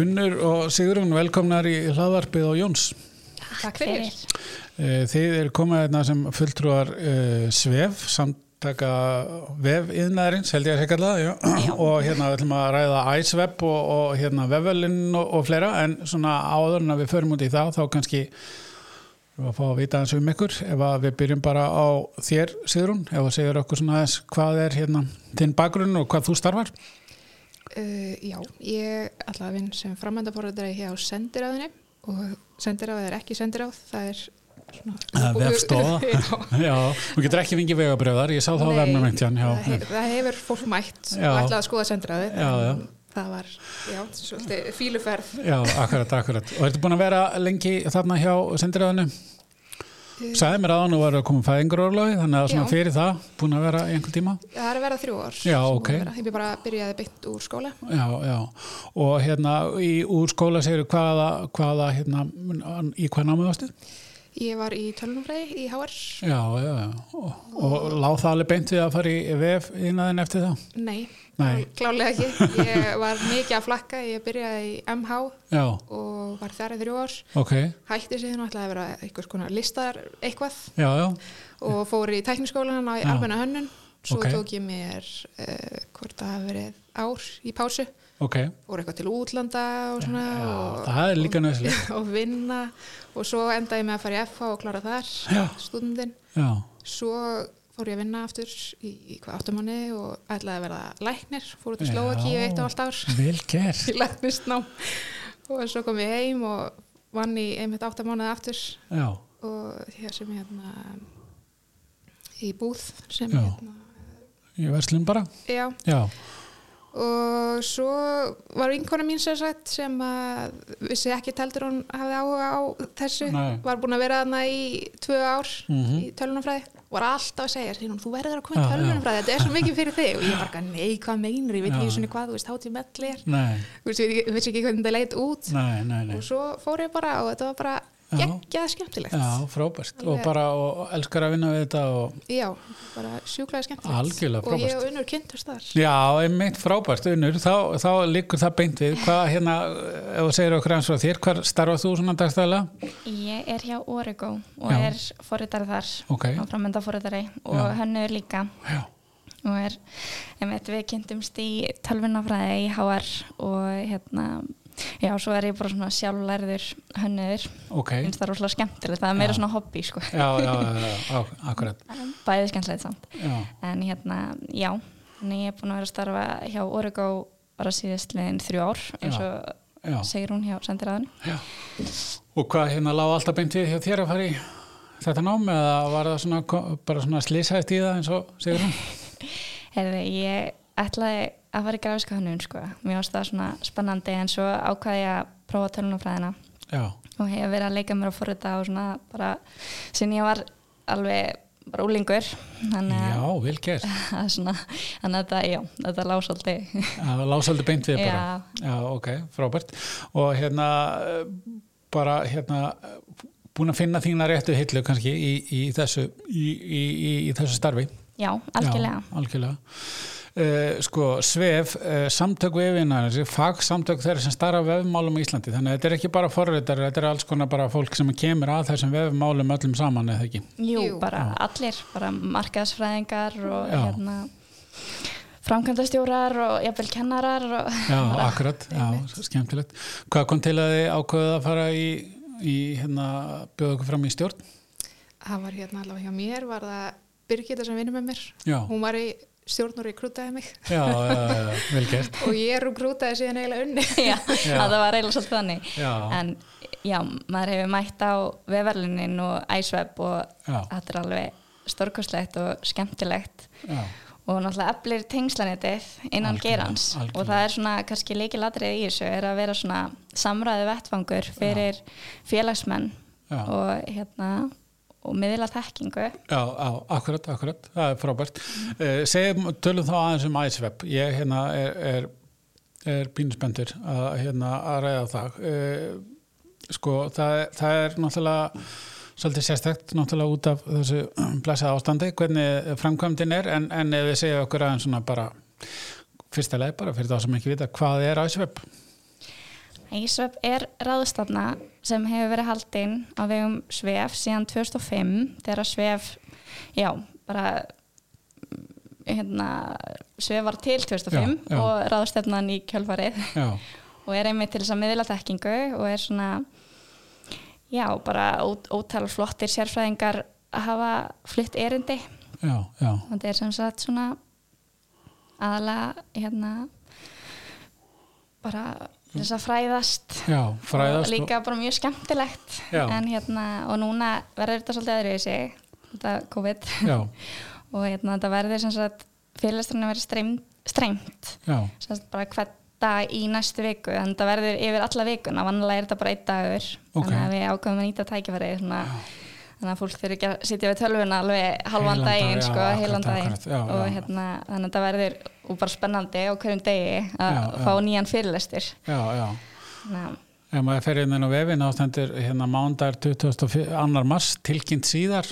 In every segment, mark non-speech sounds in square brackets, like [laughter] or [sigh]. Unnur og Sigurinn, velkomnar í hlaðvarpið á Jóns. Takk fyrir. Eh, Þið eru komað þarna sem fulltrúar uh, SVEF, samtaka vefiðnaðarins, held ég að segja alltaf, já. og hérna við ætlum að ræða IceWeb og, og hérna vefvelin og, og fleira, en svona áður en að við förum út í það, þá kannski við að fá að vita aðeins um ykkur, ef að við byrjum bara á þér, Sigurinn, ef að segja okkur svona aðeins hvað er hérna þinn bakgrunn og hvað þú starfar. Uh, já, ég allavega vinn sem framöndaforðaræði hér á sendiráðinni og sendiráð er ekki sendiráð, það [laughs] er svona... Það er vefstofa. já, Já, þú getur ekki fengið vegabröðar, ég sá það á Nei, vefnum einhvern tíðan, það, já. hef, það hefur fólk mætt Já. og ætlaði að skoða sendiráði. Já, já. Það var, já, svolítið fíluferð. Já, akkurat, akkurat. Og ertu búin að vera lengi þarna hjá sendiröðinu? Sæði mér að hann var að koma fæðingarorlofi, þannig að svona Eh. Já. fyrir það, búin að vera í einhvern tíma? Það er að vera þrjú ár. Já, sem ok. að vera. Ég bara byrjaði beint úr skóla. Já, já. Og hérna í, úr skóla segir hvaða, hvaða, hérna, í hvað námið varstu? Ég var í tölunumfræði í HR. Já, já, já. Og, og láð það alveg beint við að fara í VF innaðin eftir það? Nei, Nei. klálega ekki. Ég var mikið að flakka, ég byrjaði í MH Já, og var þar í þrjú ár. ok. hætti síðan og ætlaði að vera einhvers konar listar eitthvað Já, já. og fór í tækniskólan á Já. almenna hönnun svo Ok. tók ég mér uh, hvort það hafi verið ár í pásu Ok. fór eitthvað til útlanda og svona Já, og, það er líka nöðslega. [laughs] og vinna og svo endaði ég með að fara í FH og klára þar Já. stúdendin Já, svo fór ég að vinna aftur í, í hvað áttamanni og ætlaði að verða læknir fór út í Já. Slóakíu eitt og allt ár [laughs] vel gert. í læknistnám og svo kom ég heim og vann í einmitt áttamánuði aftur Já, og hér sem hérna í búð sem Já. hérna ég verslum bara. já, Já, og svo var vinkona mín sem sagt sem að vissi ekki teltur hún hafði áhuga á þessu Nei. var búin að vera þarna í tvö ár Mhm. í tölunumfræði var alltaf að segja hún, þú verður að koma Já, í já. tölunumfræði þetta er svo mikið fyrir þig og ég bara, nei, hvað meinar ég veit ekki svona hvað, þú veist, hátíð mellir nei, þú veist, ég veist ekki hvernig það leit út nei, nei, nei. og svo fór ég bara og þetta var bara Já. geggjað skemmtilegt Já, frábært. Og Alveg. bara og elskar að vinna við þetta og... Já, bara sjúklaði skemmtilegt. Algjörlega Og ég frábært. og Unnur kynntust þar. Já, einmitt frábært, unnur, þá, þá liggur það beint við. Hvað hérna, ef þú segir okkur eins og þér, hvar starfað þú svona dagstæðlega? Ég er hjá Origo og Já. er forritari þar Ok. og framönda forritari og Já. hönnur líka Já, og er, einmitt, við kynntumst í tölvunafræði í HR og hérna, já, svo er ég bara svona sjálflærður hönnur ok. finnst það rosalega skemmtilegt, það er meira Já. svona hobby sko, Já, já, já, já, á, akkurat. bæði skemmtilegt samt Já, en hérna, já þannig ég er búin að vera að starfa hjá Origo bara síðastliðin þrjú ár eins Já. og já, segir hún hjá sendiræðinu já. Og hvað hérna lág alltaf beint við hjá þér að fara í þetta nám eða var það svona, ko- bara svona slýsaðist í það eins og segir hún? Herði, ég ætlaði að fara í grafiska hönnun sko. Mér varst það svona spennandi en svo ákvaði ég að prófa tölunafræðina Já, og hef verið að leika mér að forrita og svona bara sinni ég var alveg bara úlingur þannig já, að, vel gert. að svona, þannig að þetta, já, þetta lá svolítið Já, lásaldi beint við bara. Já. ok, frábært. Og hérna, eh, bara hérna, eh, búin að finna þína réttu hillu kannski í, í, þessu, í, í, í, í þessu starfi. Já, Já, algjörlega algjörlega. Uh, sko, SVEF, uh, samtök vefinarins, fagsamtök þeirra sem starra vefmálum í Íslandi, þannig að þetta er ekki bara forritar, þetta er alls konar bara fólk sem kemur að þessum vefmálum öllum saman eða ekki. Jú, Jú. bara allir, bara markaðsfræðingar og Já. hérna framkvæmdastjórar og jafnvel kennarar og [laughs] Já, [laughs] akkurat, já, skemmtilegt. Hvað kom til að þið ákveðið að fara í, í hérna, bjóða okkur fram í stjórn? Það var hérna allavega hjá mér, var það Birgitta sem vinnur með mér. Já. Hún var í stjórnur í krútaði mig já, já, já, vel [laughs] gert og ég er úr krútaði síðan eiginlega unni. já, það var reyla svolítið þannig Já. en já, maður hefur mætt á vefarlunin og æsveb og Já. þetta er alveg stórkostlegt og skemmtilegt já, og náttúrulega eflir tengslanettið innan Algjörlega, gerans og það er svona kannski leikilatrið í þessu er að vera svona samræðu vettfangur fyrir félagsmenn Já. og hérna og miðla þekkingu já, já, akkurat, akkurat það er frábært uh, segjum, tölum þá aðeins um IceWeb ég hérna er, er, er pínusbendur að, hérna, að ræða það uh, sko, það, er- það er náttúrulega svolítið sérstakt náttúrulega út af þessu [clears throat] blæsaða ástandi hvernig framkvæmdin er en, en ef við segjum okkur aðeins svona bara fyrsta leið bara fyrir þá sem ekki vita hvað er IceWeb Ísvef er ráðstafna sem hefur verið haldinn á vegum Svef síðan 2005 þegar Svef, já, bara hérna, Svef var til 2005 Já, já. og ráðstafnan í kjölfarið já, og er einmitt til þess að miðla þekkingu og er svona já, bara ó- ótal flottir sérfræðingar að hafa flutt erindi já, já. og þetta er sem sagt svona aðalega hérna bara til þess að fræðast Já, fræðast og líka bara mjög skemmtilegt Já. en hérna og núna verður þetta svolítið aðrið í sig þetta COVID og, já, [laughs] og hérna þetta verður sem sagt fyrirlestrinu verður streymt, streymt já, sem sagt bara hvern dag í næstu viku en það verður yfir alla vikuna vannlega er þetta bara einn dagur Ok. þannig að við ákveðum að nýta tækifæri svona, þannig að fólk þurfi ekki að sitja við tölvuna alveg halvan Heilan dag, daginn já, sko, akkurat, heilan daginn akkurat, já, og já. hérna, þannig að þetta verður og bara spennandi á hverjum degi að Já, já. fá nýjan fyrirlestur já, já. þannig að Ef maður fer inn á vefin ástendur hérna mándagur 22. mars tilkynnt síðar.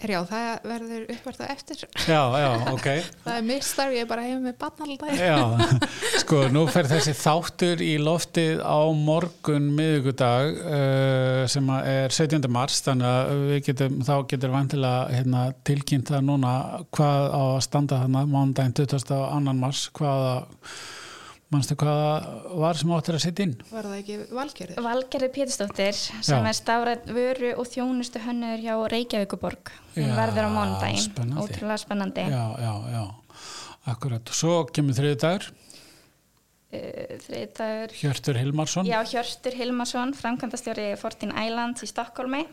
Er já, það verður uppvart á eftir. Já, já, ok. Það er mitt starf, ég er bara heim með barn alltaf. Já, [laughs] sko, nú fer þessi þáttur í loftið á morgun miðugudag uh, sem að er 17. mars, þannig að við getum, þá getur vantilega hérna, tilkynnt það núna hvað á að standa þarna mándaginn 22. mars, hvaða, manstu hvaða var sem áttur að sitja inn? Var það ekki valgerður? Valgerði Pétursdóttir sem Já. er stafrætt vöru og þjónustu hönnur hjá Reykjavíkuborg hún Já, verður á mánudaginn, spennandi. ótrúlega spennandi Já, já, já, akkurat. Svo kemur þriðdagur, uh, þriðdagur Hjörtur Hilmarsson. Já, Hjörtur Hilmarsson, framkvæmdastjóri Fortin Islands í Stokkólmi.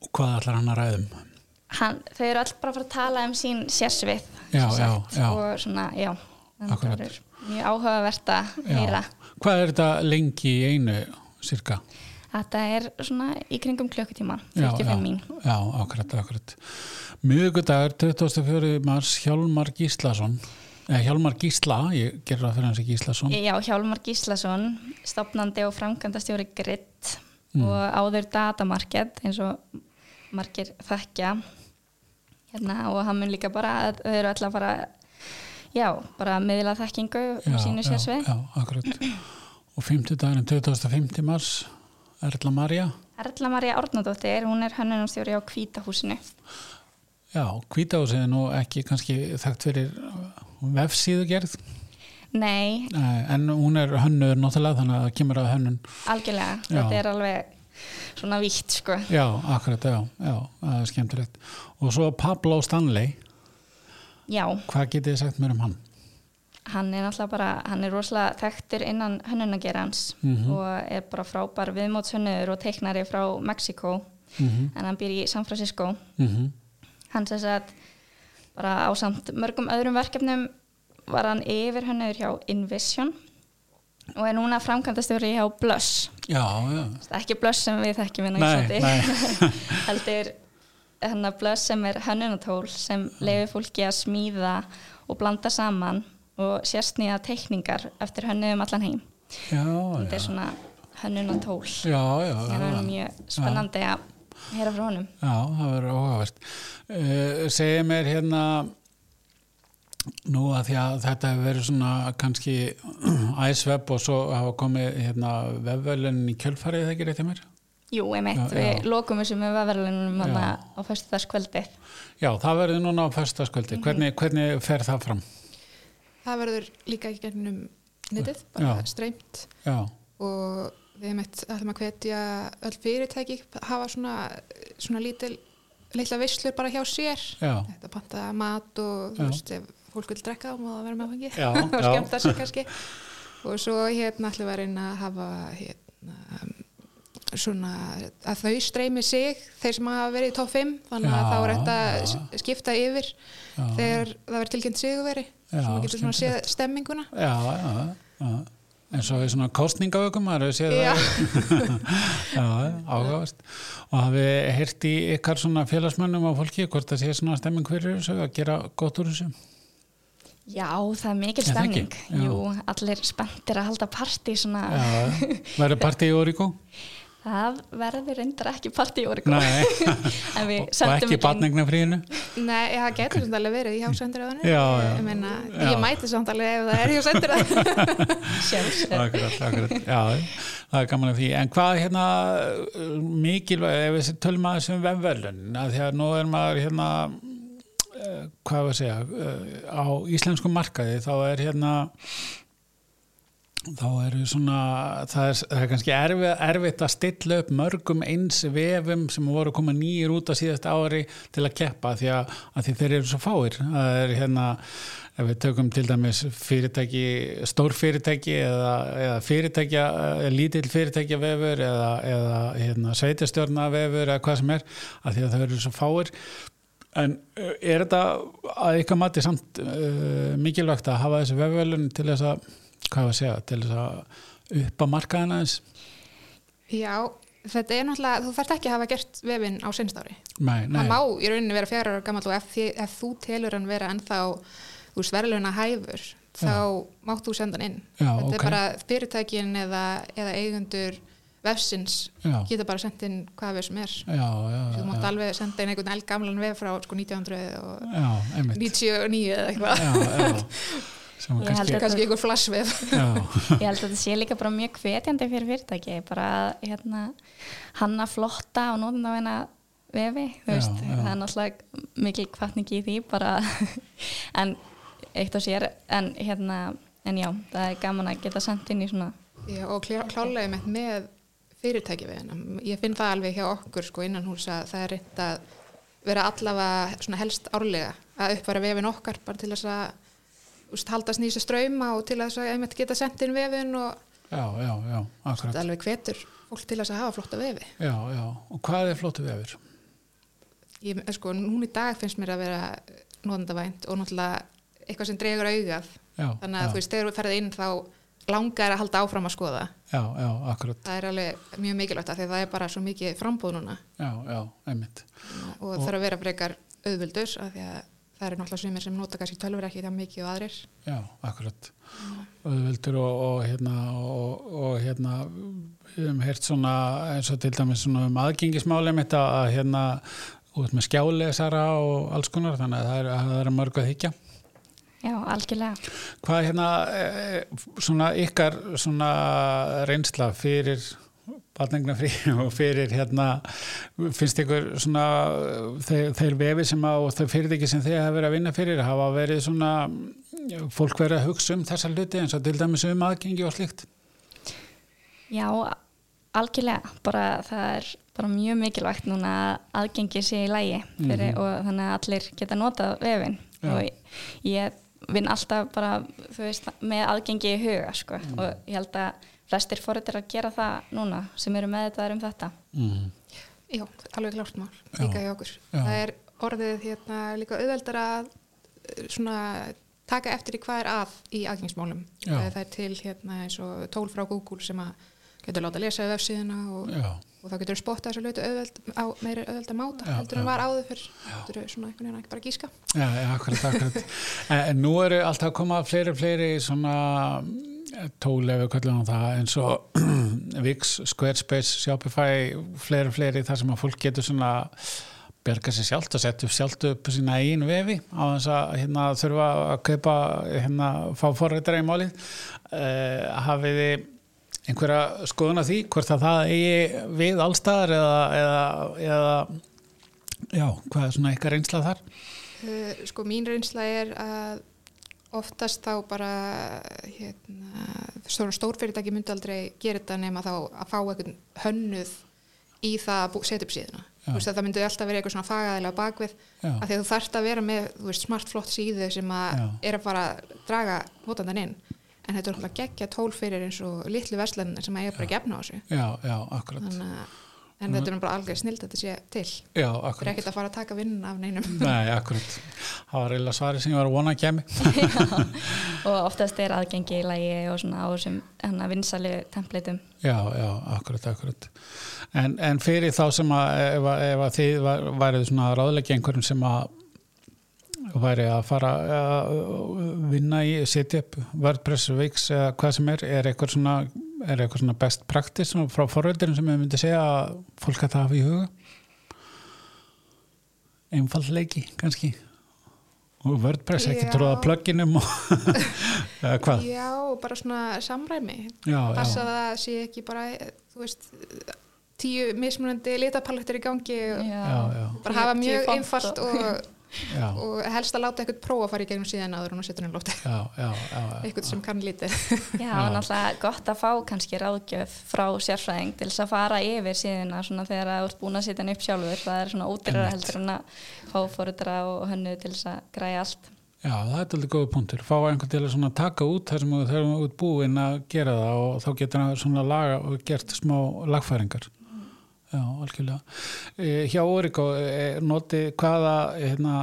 Og Hvað ætlar hann að um? ræðum? Hann, þau eru all bara að fara að tala um sín sérsvið Já, sem sagt, já, já. og svona, já, þannig að Akkurat. það verður mjög áhugavert að Já. heyra. Hvað er þetta lengi í einu, cirka? Þetta er svona í kringum klukkutíma, Já, 45 mín. Já, já akkurat, akkurat. Mjögudagur, 24. mars, Hjálmar Gíslason. Eh, Hjálmar Gísla, ég gerur það fyrir hans í Gíslason. Já, Hjálmar Gíslason, stopnandi og framkvæmdastjóri Grit Mm. og áður datamarked eins og margir þekkja hérna og hann mun líka bara, þau eru alltaf bara, já, bara miðla þekkingu um sínu já, sérsvið. já, akkurat. Og 50 dagurinn, 25. mars, Erla Marja. Erla María Árnadóttir, hún er hönnunumstjóri á Hvítahúsinu. Já, hvítahúsið er nú ekki kannski þekkt fyrir vefsíðugerð, Nei, Eh, en hún er hönnur náttúrulega þannig að það kemur að hönnun. algjörlega, Já. þetta er alveg svona vítt sko. Já, akkurat, já, já, það er skemmtilegt. Og svo Pablo Stanley, Já, hvað getið þið sagt mér um hann? hann er náttúrulega bara, hann er rosalega þekktur innan hönnunagerans og er bara frábær viðmótshönnur og teiknari frá Mexiko Mhm. en hann býr í San Francisco. Mhm. Hann sem sagt bara á samt mörgum öðrum verkefnum var hann yfir hönnur hjá Invision og er núna framkvæmdastjóri hjá Blush. Já, já, ekki blöss sem við þekkjum hérna á Nei, Íslandi [laughs] heldur hérna blöss sem er hönnunatól Mm. sem leiður fólki að smíða og blanda saman og sérsnýða teikningar eftir hönnum allan heim já, þetta er já, svona hönnunatól já, já, það já, er mjög spennandi að heyra frá honum já, það verður óhagast. Uh, segja mér hérna, nú að því að þetta hefur verið svona kannski [clears throat] æsveb og svo hafa komið hérna vefvelin í kjölfarið, það ekki rétt hjá mér? Jú, emitt, Já, já. við lokum þessu með veðverðlunum Já. á föstudagskvöldið Já, það verður núna á Mhm. föstaskvöldi. Hvernig, hvernig fer það fram? Það verður líka í gegnum netið, bara Já. streymt Já, og við mitt ætlum að hvetja öll fyrirtæki hafa svona, svona lítil litla veislur bara hjá sér já, þetta panta mat og þú Já. veist, ef fólk vil drekka þá má það vera með áfengi Já, [laughs] og já. skemmta sér kannski og svo hérna ætlum við að reyna að hafa hérna um, svona að þau streymi sig þeir sem hafa verið í topp 5 þannig að Já, þá er hægt að já. s- skipta yfir Já. þegar það verður tilkynnt sigurveri Já, svo maður getur svona séð skemmtilegt. stemminguna já, já, já. En svo er svona kostningavökum, maður hefur séð það Já, Já, ágæðast. Og hafið þið heyrt í ykkar svona félagsmönnum og fólki hvort það sé svona stemming fyrir þessu að gera gott úr þessu? Já, það er mikil Er það ekki? stemning Já. Jú, allir spenntir að halda partí svona, Já, verður partí í Óríkó? það verður reyndar ekki partí í orgu Nei, en við um og sendum ekki ekki batningnafríinu? Nei, það getur samt alveg verið hjá sendiræðinu. Já, já. Ég, meina, Já. ég mæti samt alveg ef það er hjá [laughs] sendiræðinu. sjálfsög Akkurat, akkurat, já, það er gaman af því. En hvað hérna uh, mikilvæg, ef við tölum aðeins um vefverlun, að því að nú er maður hérna, uh, hvað var að segja, uh, á íslensku markaði þá er hérna, þá eru svona, það er, það er kannski erfið, erfitt að stilla upp mörgum eins vefum sem voru að koma nýjir út á síðast ári til að keppa því að, að því þeir eru svo fáir. Það er hérna, ef við tökum til dæmis fyrirtæki, stórfyrirtæki eða, eða fyrirtækja, eða lítill fyrirtækja vefur eða, eða hérna, sveitastjórna vefur eða hvað sem er, að því að það eru svo fáir. En uh, er þetta að ykkar mati samt uh, mikilvægt að hafa þessi vefvelun til þess að, hvað var að segja, til þess að uppa markaðina eins? Já, þetta er náttúrulega, þú þarft ekki að hafa gert vefinn á sinnstári. Nei, nei. Það má í rauninni vera fjara ára gammal og ef, þið, ef þú telur hann vera ennþá úr sverluna hæfur, þá mátt þú senda hann inn. Já, þetta ok. er bara fyrirtækin eða, eða eigendur vefsins Já. geta bara sendt inn hvað við sem er. Já, já, Þú já, mátt alveg senda inn einhvern eldgamlan vef frá sko 1900 og já, einmitt. 99 eða eitthvað. Já, [laughs] já, sem Ég held kannski, að- Kannski einhver flashvef. já, ég held að þetta sé líka bara mjög hvetjandi fyrir fyrirtæki bara að hérna, hanna flotta og nótum það hérna vefi þú Já, veist, já. það er náttúrulega mikil kvartningi í því bara [laughs] en eitt og sér en hérna, en já, það er gaman að geta sendt inn í svona Já, og klá, klálega með, með fyrirtæki við hennar. Ég finn það alveg hjá okkur sko innan hús að það er reynd að vera allavega svona helst árlega að uppfæra vefin okkar bara til þess að úst, haldast nýsa ströyma og til þess að einmitt geta sendt inn vefin og já, já, já, þetta akkurat. alveg hvetur fólk til þess að hafa flotta vefi. Já, já, og hvað er flóttu vefur? Ég, sko, núna í dag finnst mér að vera nóðandavænt og náttúrulega eitthvað sem dregur augað. Já, Þannig að já, þú veist, þegar við ferðið inn þá langar að halda áfram að skoða. já, já, akkurat, Það er alveg mjög mikilvægt að því að það er bara svo mikið frambúð núna. já, já, einmitt. og það þarf að vera frekar auðvildur af því að það eru náttúrulega sumir sem nota kannski tölvur ekki það mikið og aðrir Já, akkurat auðvöldur og, og hérna og, og hérna við hefum heyrt svona eins og til dæmis svona um aðgengismáli mitt að, að hérna út með skjálesara og alls konar þannig að það er, að það er mörg að higgja já, algjörlega Hvað er hérna eh, svona ykkar svona reynsla fyrir batningna frí [laughs] og fyrir hérna finnst ykkur svona eh, þeir, þeir vefi sem að og þau fyrirtæki sem þeir hafa verið að vinna fyrir hafa verið svona mm, fólk verið að hugsa um þessa hluti eins og til dæmis um aðgengi og slíkt já, algjörlega bara það er bara mjög mikilvægt núna að aðgengi sé í lægi fyrir, og þannig að allir geta notað vefin Mhm. Já. og ég vinn alltaf bara, þú veist, með aðgengi í huga, sko, Mhm. og ég held að flestir fóruðir að gera það núna sem eru með þetta um þetta mm. já, alveg klárt mál, líka hjá okkur Já. það er orðið hérna líka auðveldar að eh, svona taka eftir í hvað er að í aðgengismálum Já. það er- það er til hérna eins og tól frá Google sem að getur láta að lesa vefsíðuna og, Já, og það getur spotta þessu hlutu auðveld á meira auðveld að máta Já, heldur en já. var áður fyrr, heldur svona einhvern veginn ekki bara gíska já, já, akkurat, akkurat. en, en nú eru alltaf að koma fleiri, fleiri svona mm, tól ef við köllum á það eins og [clears throat] Wix, Squarespace, Shopify, fleiri, fleiri þar sem að fólk getur svona berga sér sjálft og setja upp sjálft upp sína einu vefi á þess að hérna, þurfa að kaupa hérna, fá forrættara í málið uh, hafið þið einhverja skoðun að því hvort að það eigi við allstaðar eða, eða, eða já, hvað er svona eitthvað reynsla þar? Uh, sko mín reynsla er að oftast þá bara hérna, svona stórfyrirtæki myndi aldrei gera þetta nema þá að fá einhvern hönnuð í það að bú- setja upp síðuna. Já. Þú veist að það myndi alltaf verið eitthvað svona fagaðilega bakvið Já. af því að þú þarft að vera með þú veist, smart flott síðu sem að Já. er að fara að draga notandan inn en þetta er alltaf geggja tól fyrir eins og litlu verslanir sem að ég er bara að gefna á þessu. Já, já, akkurat. Mm. Þannig að En þetta er bara alveg snild að þetta sé til. Já, Það er akkurat. ekkert að fara að taka vinnun af neinum. Nei, akkurat. Það var eiginlega svarið sem ég var að vona að kemi. og oftast er aðgengi í lægi og svona á þessum hérna, vinsali templatum Já, já, akkurat, akkurat. En, en fyrir þá sem að ef, að- ef að þið var, værið svona ráðleggja einhverjum sem að væri að fara að vinna í setjup, WordPress, Wix eða hvað sem er, er eitthvað svona, er eitthvað svona best practice svona frá forveldurum sem ég myndi segja að fólk að það hafa í huga? einfallleiki kannski og WordPress, ekki Já. tróða plugginum og [laughs] eða hvað Já, bara svona samræmi já, já, passa það að sé ekki bara þú veist, tíu mismunandi litapalettur í gangi og já, já, bara hafa Tíu- tíu mjög font einfalt og, já, og helst að láta eitthvað prófa að fara í gegnum síðan áður en hún setur hún lóti já, já, já, já. eitthvað sem kann lítið [laughs] Já, og náttúrulega gott að fá kannski ráðgjöf frá sérfræðing til þess að fara yfir síðuna svona þegar að þú ert búin að setja hann upp sjálfur það er svona ódýrara heldur en að fá fóruðra og hönnu til þess að græja allt Já, það er alveg góða punktur. Fá einhvern til að svona taka út þar sem þau eru út búinn að gera það og þá getur það svona laga og gert smá lagfæringar. Já, algjörlega. E, hjá Oriko, e, noti hvaða, hérna,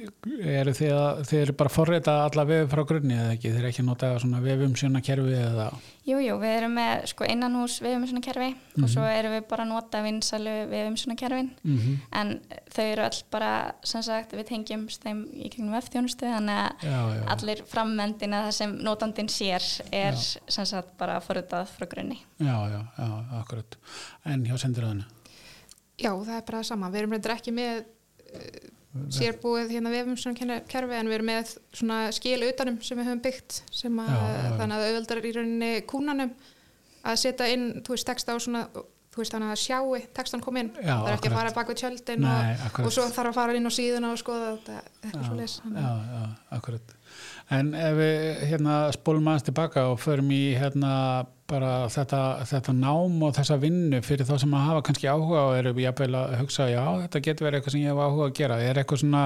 eru þið, að, þið eru bara að forrita alla vefi frá grunni eða ekki? Þið eru ekki að nota svona vefum sjöna kerfi eða... Jú, jú, við erum með sko innanhús viðumsjónakerfi og svo erum við bara að nota vinsalu viðumsjónakerfin Mm en þau eru all bara, sem sagt, við tengjum þeim í kringum F-þjónustu þannig að Já, já, allir frammendina það sem notandin sér er sem sagt bara fóruðað frá grunni já, já, já, akkurat. En hjá sendiröðinu? Já, það er bara það sama. Við erum reyndar ekki með uh, sérbúið hérna vefum sem kerfi en við erum með svona skil utanum sem við höfum byggt sem að Já, já, já. þannig að auðveldar er í rauninni kúnanum að setja inn, þú veist, texta á svona þú veist þannig að sjáu textan kom inn Já, það er ekki að akkurat. fara bak við tjöldin Nei, og, akkurat. og svo þarf að fara inn á síðuna og skoða þetta eitthvað svo les já, já, akkurat en ef við hérna spólum aðeins tilbaka og förum í hérna bara þetta, þetta nám og þessa vinnu fyrir þá sem að hafa kannski áhuga og eru jafnvel að hugsa já, þetta getur verið eitthvað sem ég hef áhuga að gera er eitthvað svona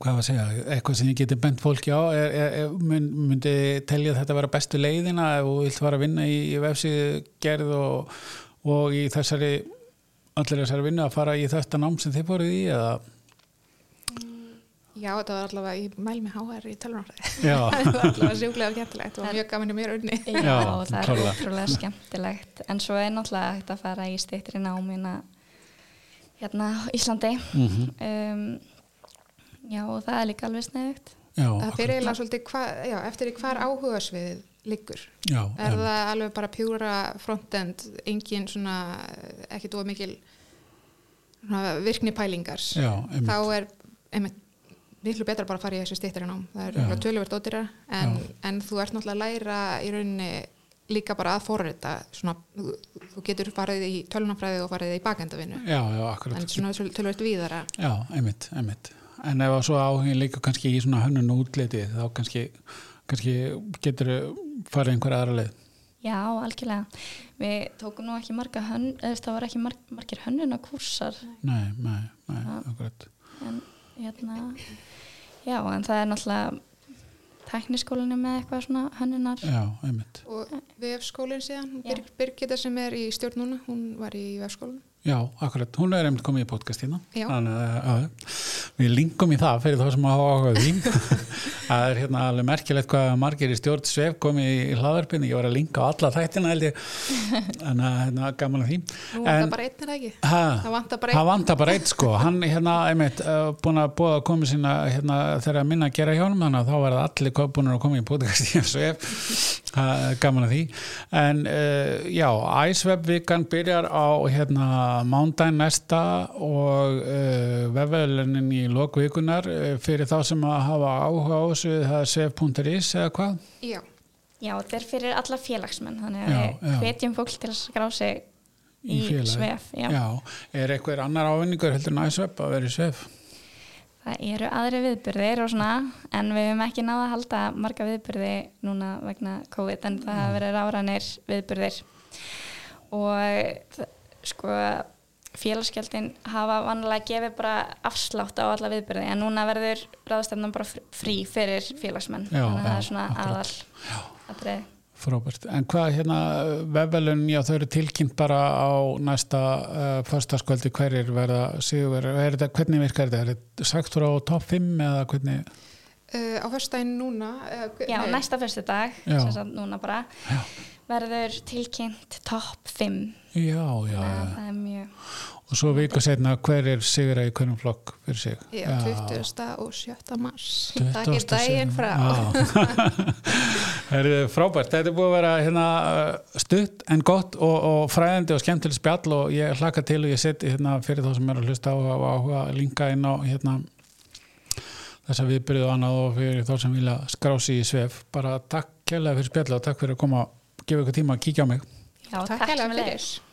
hvað var að segja, eitthvað sem ég geti bent fólki á, er, er, er, mun, myndi telja þetta vera bestu leiðina ef þú vilt fara að vinna í, í vefsíðgerð og, og í þessari allir þessari vinnu að fara í þetta nám sem þið fóruð í eða Já, þetta var allavega, ég mæl mig HR í tölunarfræði Já, [laughs] það var allavega sjúklega skemmtilegt og mjög gaman í mér unni Já, Já, það er klárlega. ótrúlega skemmtilegt en svo er náttúrulega hægt að fara í stýttri námina hérna á Íslandi Mhm. um, Já, og það er líka alveg sniðugt já, það akkurat. fyrir eiginlega svolítið hva, já, eftir því hvar áhuga sviðið liggur já, Er já, það alveg bara pjúra frontend, engin svona ekki dóa mikil svona, virkni pælingar? já, einmitt. Þá er einmitt miklu betra bara að fara í þessu stýttir nám. Það er Já. ja. töluvert ódýra en, en þú ert náttúrulega að læra í rauninni líka bara að forrita svona, þú, þú getur farið í tölunafræði og farið í bakendavinnu. já, já, akkurat En svona töl- töluvert víðara. já, einmitt, einmitt en ef að svo áhengið líka kannski í svona hönnun og útliti þá kannski, kannski getur farið einhver aðra leið Já, algjörlega Við tókum nú ekki marga hönn eða það var ekki marg, margir hönnuna kúrsar nei, nei, nei, akkurat en hérna Já, en það er náttúrulega tækniskólinu með eitthvað svona hönnunar já, einmitt, Og VF-skólinn síðan, Já. Birg, Birgitta sem er í stjórn núna, hún var í VF-skólinn. já, akkurat hún er einmitt komið í podcastina Já. Þannig að, já, við linkum í það fyrir þá sem að hafa áhuga á [laughs] því það er hérna alveg merkilegt hvað margir í stjórn svef komið í hlaðarpinu, ég var að linka á alla þættina [laughs] held ég þannig að hérna, gaman að því Nú var það bara einn er það ekki? Ha, Það vantar bara það vantar bara eitt sko hann hérna, einmitt, uh, búin að búa að koma sína hérna, þegar að minna að gera hjá honum þannig að þá var það allir búin að koma í podcast í Svef, uh, gaman að því en uh, já, Æsveb vikan byrjar á hérna mándaginn næsta og uh, vefvelunin í lokvikunar uh, fyrir þá sem að hafa áhuga á þessu það er svef.is eða hvað Já. Já, þetta er fyrir alla félagsmenn þannig að Já, já. við hvetjum fólk til að skrá sig í, félagið. svef já. er eitthvað annar ávinningur heldur en Æsveb að vera í Svef Það eru aðri viðbyrðir og svona en við höfum ekki náða að halda marga viðbyrði núna vegna COVID en það Mm. hafa verið ráranir viðbyrðir og þ- sko félagsgjöldin hafa vanlega gefið bara afslátt á alla viðbyrði en núna verður ráðstefnum bara fr- frí fyrir félagsmenn Já, þannig að það já, er svona akkurat. aðal atriði. Frábært. En hvað hérna vefvelun, já þau eru tilkynnt bara á næsta uh, förstaskvöldi hverjir verða sigurverður, Er þetta- hvernig virkar þetta? Er þetta sagt frá top 5 eða hvernig? uh, á föstudaginn núna uh, Já, næsta fyrstu dag, Já. sem sagt núna bara, verður tilkynnt topp 5. já, já, já. Það er mjög, Og svo viku setna, hver er sigur í hvernig flokk fyrir sig? Já, 20. og 7. mars 20. Takk er daginn sigur. frá Já. [laughs] Herðu, frábært, þetta er búið að vera hérna, uh, stutt en gott og, og fræðandi og skemmtileg spjall og ég hlaka til og ég set hérna, fyrir þá sem er að hlusta á og áhuga að linka inn á hérna, þess að við byrjuðu annað og fyrir þá sem vilja skrási í svef bara takk kærlega fyrir spjall og takk fyrir að koma og gefa ykkur tíma að kíkja á mig já, Takk takk hérlega sem fyrir